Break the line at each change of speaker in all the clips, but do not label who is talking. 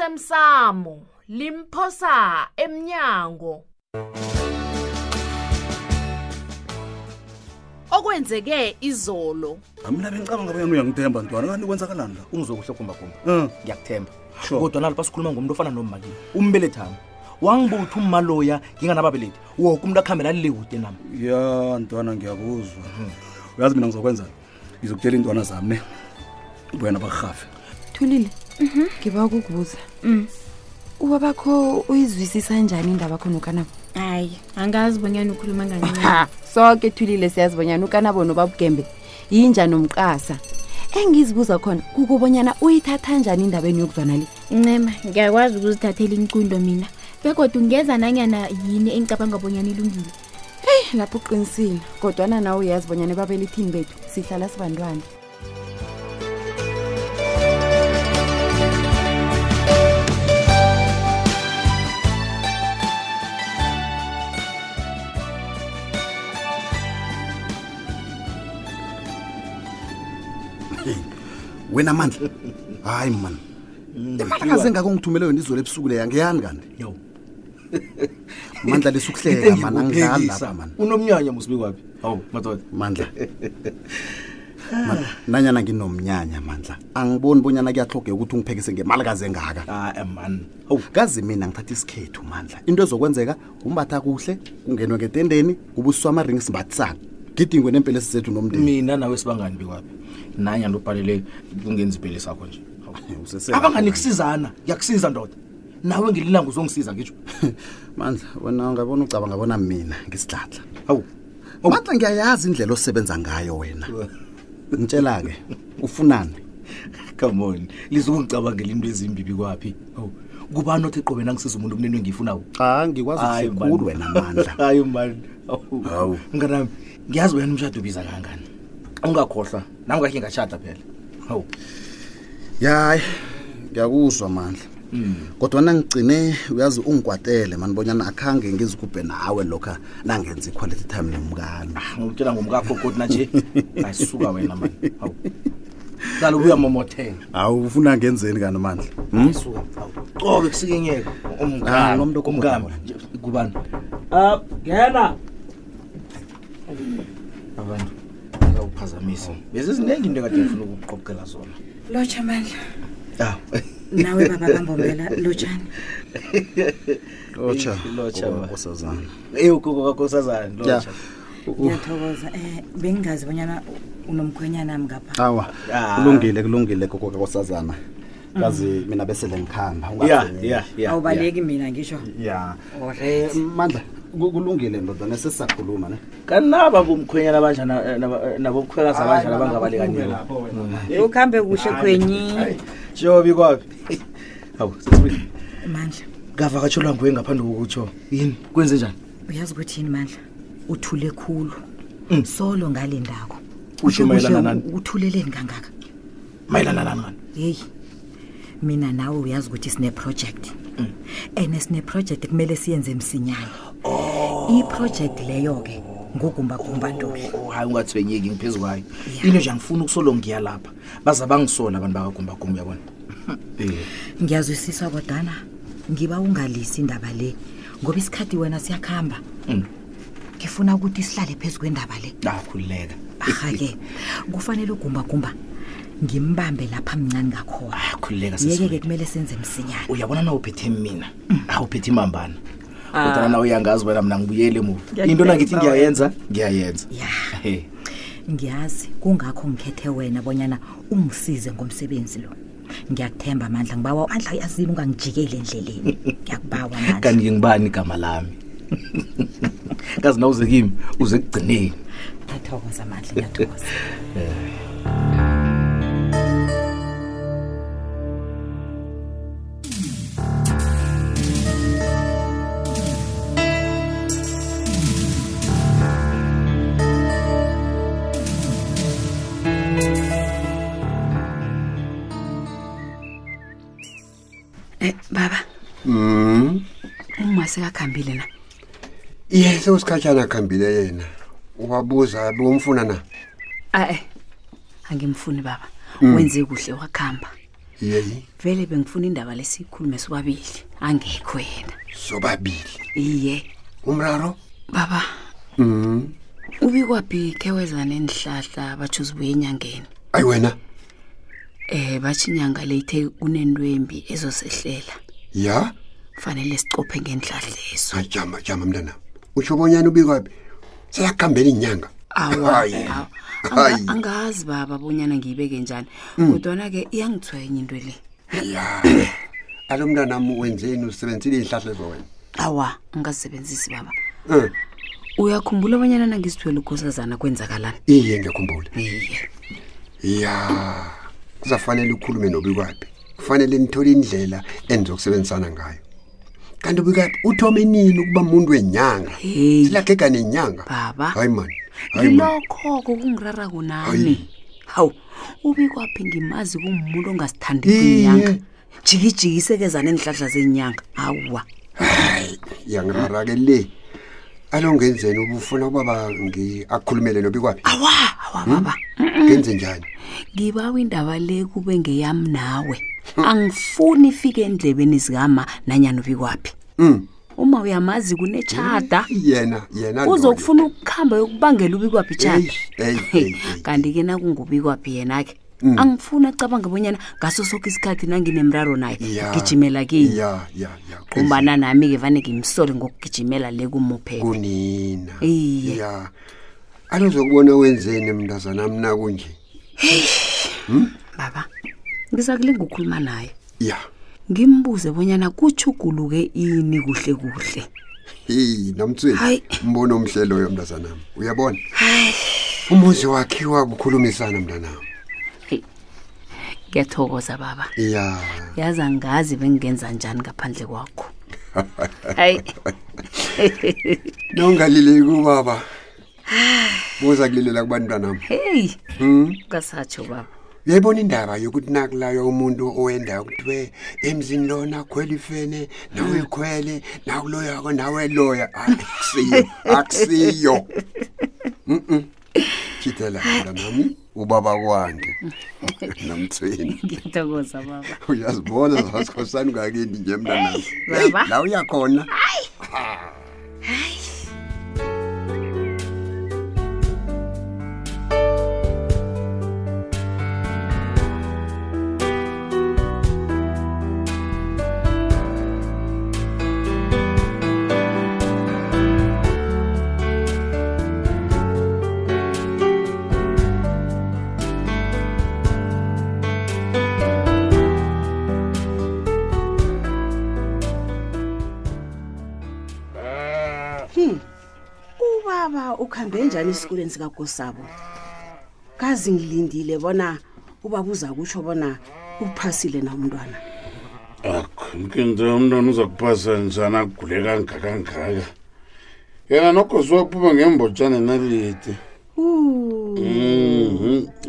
osemsamo limphosa emnyango okwenzeke izolo
amna bengicabanga bayani uyangithemba ntwana kanti kwenzakalani la
ungizokuhle gumbagumba
um
ngiyakuthemba
Sure.
kodwa nalapha sikhuluma ngomuntu ofana nomali umbelethami wangibuthi ummaloya nginganababelethi woke umuntu akuhambela lile kude nami
ya ntwana ngiyakuzwa uyazi mina ngizokwenzani ngizokutshela iintwana zami ne buyena bakurhafe
thulile ngiba ukukubuza uba bakho uyizwisisa njani indaba khona ukanabo
hayi angazi bonyana ukhuluma ngancane
ha soke thulile siyazibonyana ukanabo nobabugembe yinja nomqasa engizibuza khona kukubonyana uyithatha njani indabeni yokuzwana le
ncema ngiyakwazi ukuzithathela incundo mina begodwa ungeza nanyana yini engicabanga bonyana ilungile
eyi Eh, lapho uqinisile kodwana nawe uyazi bonyana ebabelithini bethu sihlala sibantwana
wena mandla hayi mani emalakaze engako ngithumele yona izolo ebusuku leya ngeyani kanti
yo
mandla lesukuhleka mani angidlali lapha mani
unomnyanya musibekwapi hawu madoda
mandla Man, nanyana nginomnyanya mandla angiboni bonyana kuyahlogeka ukuthi ungiphekise ngemalakazi engaka
hayi mani Ah, hawu
kazi mina ngithatha isikhethu mandla into ezokwenzeka kumbatha kuhle kungenwe ngetendeni kubusiswa ama-ring simbathisana gidingwe neempelesi zethu nomndeni
mina nawe sibangani bekwapi nanyani ubhalele kungenza ipele sakho nje Hawu.
Usese-
abanganikusizana ngiyakusiza ndoda nawe ngelilanga uzongisiza ngitsho
mandla wena ungabona ucabanga bona mina ngisidladla
hawu Hawu.
mandla ngiyayazi indlela osebenza ngayo wena ngitshela-ke ufunani
come on lizokungicabangela into ezimbi bikwaphi hawu kubani othi qobe nangisiza umuntu omneni engiyifunawo
ha ngikwazi
Hayi,
kuhle
man.
khulu wena mandla
hayi mani
Hawu.
nganami ngiyazi wena umshado ubiza kangangani ungakhohlwa nangakhe ngashada phela hawu
yayi ngiyakuzwa mandla
Mm.
kodwana ngigcine uyazi ungikwatele mani bonyana akhange ngizigubhe nawe lokha nangenza i-quality time nomkami
ngokutshela ngomkakho kodwa nanje ayisuka wena mani hawu kalo kuyamomothela
hawu ufuna ngenzeni kani mandla
ayisuka hawu cobe kusikinyeka
Hmm? Ah, nomuntu okhomotha
umkami kubani Ah, ngena abantu ngiyawuphazamisa beziziningi into ekade ngifuna ukuqoqela zona
lotsha mandla
Ah.
nawe baba kambombela lotshani
lotsha
Lotsha,
o-
ma.
osazana
eyi ugogo kakhosazane
ya
lotsha
ngiyathokoza um bengingazi bonyana unomkhwenyanami ngapha
awa
Ah.
kulungile kulungile kokoke kosazana kazi mina besele ngikhamba
Mm. ya
ungazengi.
ya ya
awubaleki mina ngisho
ya
Eh, mandla ku- kulungile ndodana sesisakhuluma ne
kanaba bomkhwenyana abanjani nabomkhwekazi abanjani abangabalekaniyo Mm.
ukuhambe kuhle khwenyi
jobi kwapi hawu sesibili
mandla
ngavakatshelwa nguwe ngaphandle kokutsho yini kwenze njani
uyazi ukuthi yini mandla uthule khulu solo ngale ndako
Usho
Kuhle,
Mm. mayelana
kuhle,
nani?
u- uthuleleni kangaka
mayelana nani ngani
yeyi mina nawe uyazi ukuthi sineprojekthi
Mm.
and sineprojekthi kumele siyenze msinyane iprojekthi leyo-ke ngugumbagumba ntuli
Oh, hayi ungathwenyeki ngiphezu kwayo
Ya.
into nje angifuni ukusolo ngiya lapha baza bangisola abantu bakagumbagumba uyabona
ngiyazwisisa kodwana ngiba ungalisi indaba le ngoba isikhathi wena siyakuhamba ngifuna ukuthi sihlale phezu kwendaba le
Ah, akhululeka
aha-ke kufanele ugumbagumba ngimbambe lapha mncane ngakhona
akhululeka
yeke-ke
sesi
kumele senze msinyane
uyabona na uphethe mina awuphethe imambana kodwana nawe uyangazi ubana mna ngibuyele muva into nangithi ngiyayenza ngiyayenza
ya
He.
ngiyazi kungakho ngikhethe wena bonyana ungisize ngomsebenzi lo ngiyakuthemba amandla ngibawa amandla yazini ungangijikeli endleleni ngiyakubawa mandla
kanti-ke ngibani igama lami kazi na uze kimi uze ekugcineni
ngiyathokoza amandla ngiyathokoza
Eh, baba uma sekakhambile na
iye sewusikhatshana akuhambile yena ubabuza bomfuna na
ae angimfuni baba wenze kuhle wakhamba
yeyi
vele bengifuna indaba lesikhulume sobabili angekho yena
sobabili
iye
umraro
baba ubikwaphi khe weza nenihlahla batsho zibuye enyangeni
ayi wena
um batsho inyanga le ithe kunentwembi ezosehlela
ya
kufanele sicophe ngeenhlahla lezo
ajama jama mntana utsho bonyana ubikwaphi selakuhambela inyanga
awa
Hayi.
awa.
Hayi. Mm.
Anga- angazi baba bonyana ngiyibeke njani kodwana-ke iyangithwenya into le
ya alo mntanam wenzeni usebenzisile iy'hlahla zowena
awa ngingazisebenzisi baba
um
uyakhumbula bonyana nangizithwele ukhosazana kwenzakalani
iye ngiyakhumbula
iye
ya kuzafanele ukhulume nobikwaphi kufanele nithole indlela enizokusebenzisana ngayo kanti ubikwaphi uthome nini ukuba muntu wenyanga
Hey.
silagega nenyanga
Baba.
hayi mani hayi mani
ngilokho-ko kungirara kunami
Hayi.
hawu ubikwaphi ngimazi kumuntu ongasithandi
Iye.
kwenyanga jikijikisekezana enihlahla zenyanga hawa
hayi iyangirara-ke le alo ngenzeni ubufuna ubaba ngi- akhulumele nobikwaphi
awa awa
Mm.
baba
ngenze njani
ngibawa indaba le kube ngeyami nawe angifuni ifike endlebeni zikama nanyani ubikwaphi
Mm.
uma uyamazi kunetshada
Hmm. yena yena
uzokufuna ukuhamba yokubangela ubikwaphi
Eyi,
itshada
eyi, eyi, eyi.
kanti-ke nakungubikwaphi yena-ke
Hmm.
angifuni acabanga bonyana ngaso soke isikhathi nanginemraro naye
Ya.
gijimela kini
ya ya ya
ngombana nami-ke vane ngimsole ngokugijimela le kumophela
kunina
Iye.
ya alozokubona wenzeni mntazana mna kunje
baba ngiza kulinga ukukhuluma naye
ya
ngimbuze bonyana kutshuguluke ini kuhle kuhle
heyi namtsweni
Hayi.
mbono omhle loyo mntazanam uyabona umuzi wakhiwa kukhulumisana mntanam
ngiyathokoza baba
ya
yazi angazi bengingenza njani ngaphandle kwakho hayi
nongalileki ubaba buza kulilela kubantwanam
heyi ngasatsho baba
uyayibona indaba yokuthi nakulaywa umuntu owendayo kuthiwe emzini lona khwela ifene nawe khwele nakuloyako nawe loya Hayi, akusiyo akusiyo Mm-mm. khithela mntanami ubaba kwange namtsweni
ngiyathokoza baba
uyazibona zasikhosana ungakini nje mntanami
baba.
la uyakhona
ubaba ukuhambe njani esikolweni sikagosabo kazi ngilindile bona ubaba uza kutsho bona uphasile na umntwana
nkinto umntwana uza kupasa njani agule kangaka kangaka yena nogosi waphuma ngembotshane Mhm. naliti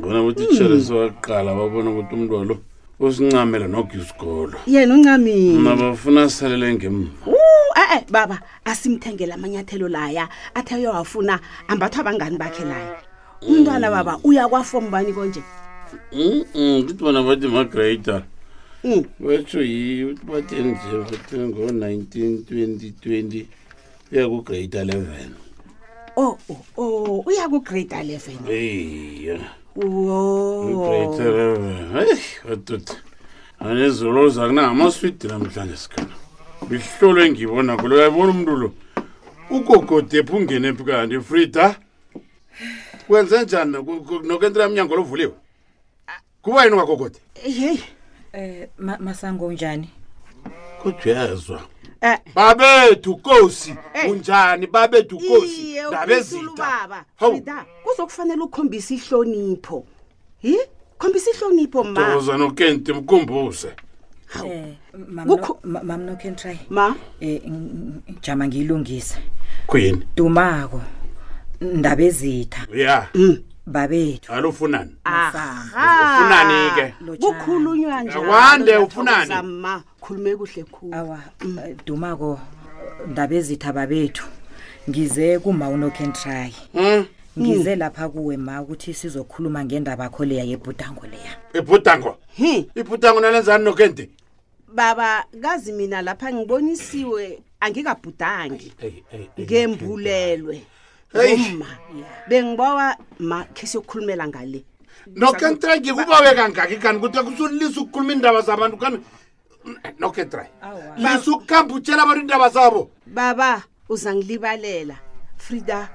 bona botitshere sewaqala babona ukuthi umntwa lo usincamela nokho isikolo
yena uncamile
nabafuna asalele ngemva
e-e baba asimthengele amanyathelo laya athe uyowafuna ambathwa abangani bakhe laya umntwana baba uyakwafomu bani konje
kuthi Mhm, bona bathi magrayidala
Mm.
batsho yiyo ukuthi batheni nje bathi ngo-nineteen twenty twenty uya kugrade eleven
o o o "Oh, uya kugrade eleven
eya
wo
ugrade eleven hayi wadoda eh, anezolo zakunamaswidi namhlanje sikhona ihlolo engiyibona kulo uyayibona umntu lo ugogodephu ungene phi kanti frida kwenze njani noku- ku- nokwentela mnyango lovuliwe kuba yini ungagogode
yeyi
Eh masango njani?
kodwa uyazwa
Eh.
babethu kosi unjani babethu kosi
iye
nabezita
ubaba
Hawu.
frida kuzokufanele ukhombisa ihlonipho hi khombisa ihlonipho ma
doza nokenti mkhumbuze
Eh
Kukho-
mamno can try.
ma
Eh ng- ng- jama ngiyilungisa.
khuyini
Dumako. Ndaba ezitha
ya
babethu.
alufunani
Ah.
Masango.
ufunani ke
Lotshani.
kukhulunywa
Akwande, Eh, ufunani?
ma khulume kuhle khulu
Awa eh,
Hmm?
dumako ndaba ezitha babethu. Ngize kuma uno can try. ngize
Mm.
lapha kuwe ma ukuthi sizokhuluma ngendaba yakho leya yebhudango leya
ibhudango ibhudango nalenzani nokente
baba kazi mina lapha ngibonisiwe angikabhudangi ngembulelwe
heyi
bengibawa ma khe siyokhulumela ngale
nokente ngikubawe kangaki kanti kuthi kusulisa ukukhuluma iindaba zabantu kanti nokentray lisa ukukhamba utshela abantu iindaba zabo
baba uzangilibalela frida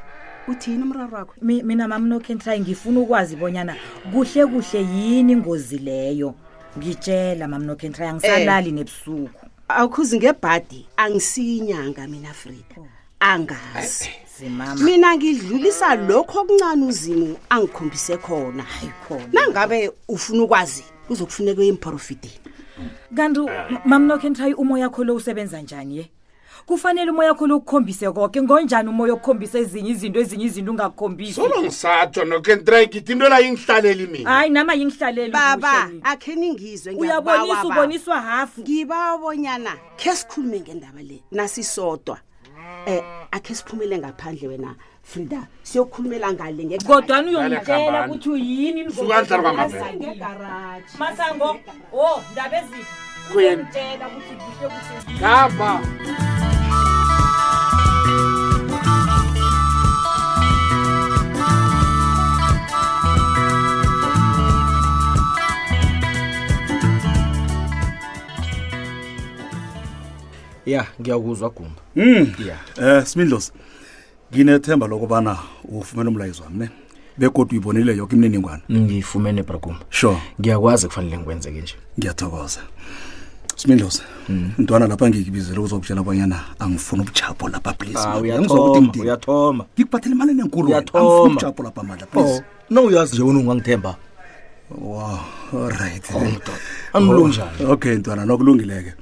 uthini umraro wakho
Mi- mina mam nokentry ngifuna ukwazi bonyana kuhle kuhle yini ingozi leyo ngitshela mam nokentry
Eh.
angisalali nebusuku
awukhuzi ngebhadi angisiyinyanga mina frida angazi
zimama
mina ngidlulisa lokho okuncane uzimu angikhombise khona nangabe ufuna ukwazi kuzokufuneka uye emprofiteni
kanti mam nokentry umoya kho lo usebenza njani ye kufanele umoya kho lo ukukhombise konke ngonjani umoya okukhombisa ezinye izinto ezinye izinto ungakukhombisi
solo ngisatsho nokentray ngithi into la ingihlaleli mina
hayi nama yingihlaleli
baba akhe ningizwe
Uyaboniswa, uboniswa hafu
ngibawabonyana khe sikhulume ngendaba le nasisodwa um akhe siphumele ngaphandle wena frida siyokhulumela ngale nge-
kodwani
Ngale
uyongitshela
kambani.
ukuthi uyini
Suka ndlala kwamabele.
masango o ndaba eziphi
Kweni.
uyongitshela ukuthi kuhle kuhle
ngapha
ya ngiyakuzwa gumba
Mm.
Yeah.
Eh Smindlosi. Nginethemba lokubana ufumene umlayezo wami ne. Bekodwa uyibonile yonke imniningwane.
ngifumene bragumba
Sure. Ah,
ngiyakwazi kufanele ngikwenzeke nje
Ngiyathokoza. Smindlosi. Ntwana lapha ngikubizele uzokutshela abanyana angifuni ubujapo lapha please.
Ah,
man.
uyathoma,
Angizwa ukuthi ngidini.
uyathoma
Ngikubhathela imali enenkulu. wena. Angifuni
uyathoma
ubujapo lapha mandla please.
no Oh, uyazi nje wena ungangithemba
Wow, all right.
anilunjani?
Okay ntwana nokulungile ke.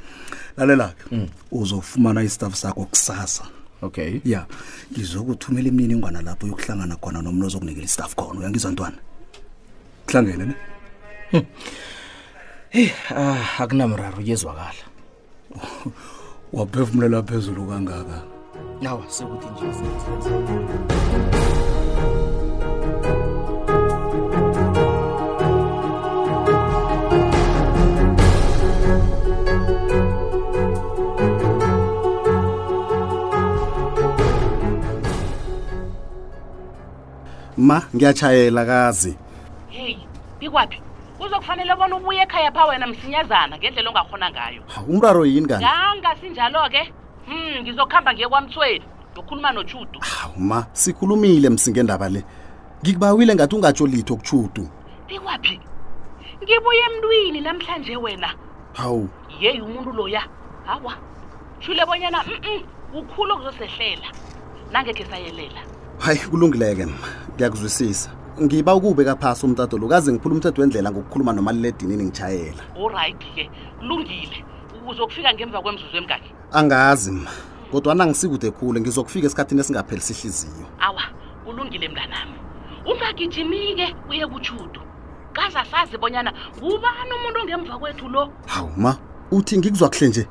Lalela ke. Uzofumana istaff sakho kusasa.
okay
ya ngizokuthumela imniningwana lapho yokuhlangana khona nomntu ozokunikela istaff khona uyangizwa ntwana kuhlangene ne
heyi ah, akunamraro kuyezwakala
waphefumulela phezulu kangaka
nawa sekuthi nje
ma ngiyatshayela kazi
heyi bikwaphi kuzokufanele bona ubuye ekhaya pha wena msinyazana ngendlela ongakhona ngayo
Ha, umraro yini kani
kangasinjalo-ke um ngizokuhamba ngiye kwamthweni ngokhuluma notshudu
Hawu, ma sikhulumile msingendaba le ngikubawile ngathi ungatsho litho kutshudu
bikwaphi ngibuye emntwini namhlanje wena
hawu
yeyi umuntu loya hawa shule bonyana mm ukhulu okuzosehlela nangekhe sayelela
hayi kulungileke ma ngiyakuzwisisa ngiba ukube kaphasi umtato lo kaze ngiphula umthetho wendlela ngokukhuluma nomaliledinini ngitshayela
orayithi-ke kulungile uzokufika ngemva kwemzuzu emngaki
angazi ma kodwana angisikude khulu ngizokufika esikhathini esingaphelisi ihliziyo
awa kulungile mntanami ungagijimi-ke uye kutshudu kaza sazi bonyana ngubani umuntu ongemva kwethu lo
hawu ma uthi ngikuzwa kuhle nje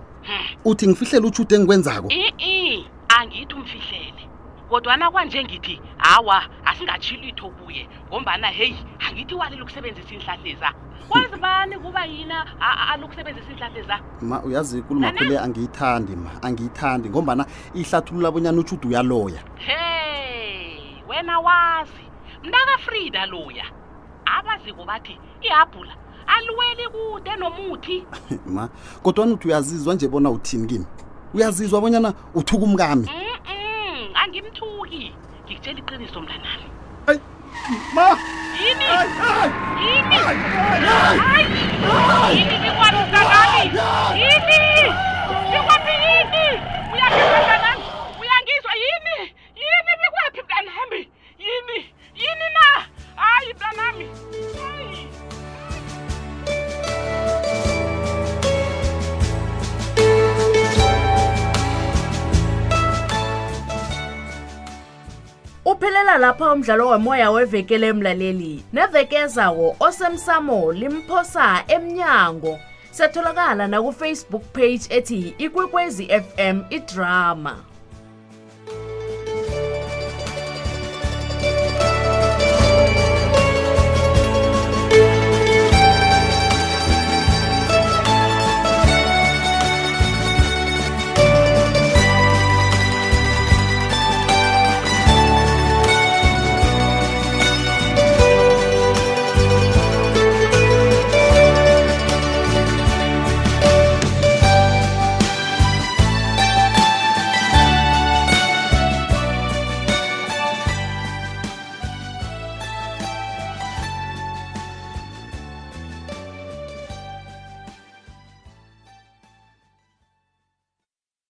uthi ngifihlele utshudu engikwenzako
i-i angithi umfihlele kodwana kwanje ngithi hawa asingatshi litho kuye ngombana heyi angithi walele ukusebenzisa iinhlahleza kwazi bani kuba yina a- a- alokusebenzisa iinhlahleza
ma uyazi ikulumo khule angiyithandi ma angiyithandi ngombana ihlathulula bonyana utshudu uyaloya
hey wena wazi mntakafrida loya abaziko bathi ihabhula aliweli kude nomuthi
ma kodwana uthi uyazizwa nje bona uthini kimi uyazizwa bonyana uthuka umkami
Mm, angimthuki ngikutshela iqiniso mntanami
ma
yini yini Hayi! yini bikwani mntanami yini bikwaphi yini uyangizwa mntanami uyangizwa yini yini bikwaphi mntanami yini yini na hayi mntanami Hayi.
Uphelela lapha umdlalo womoya wevekele emlaleli. Nevekezawo osemsamo limphosa emnyango. Satholakala na ku Facebook page ethi Ikwekwezi FM iDrama.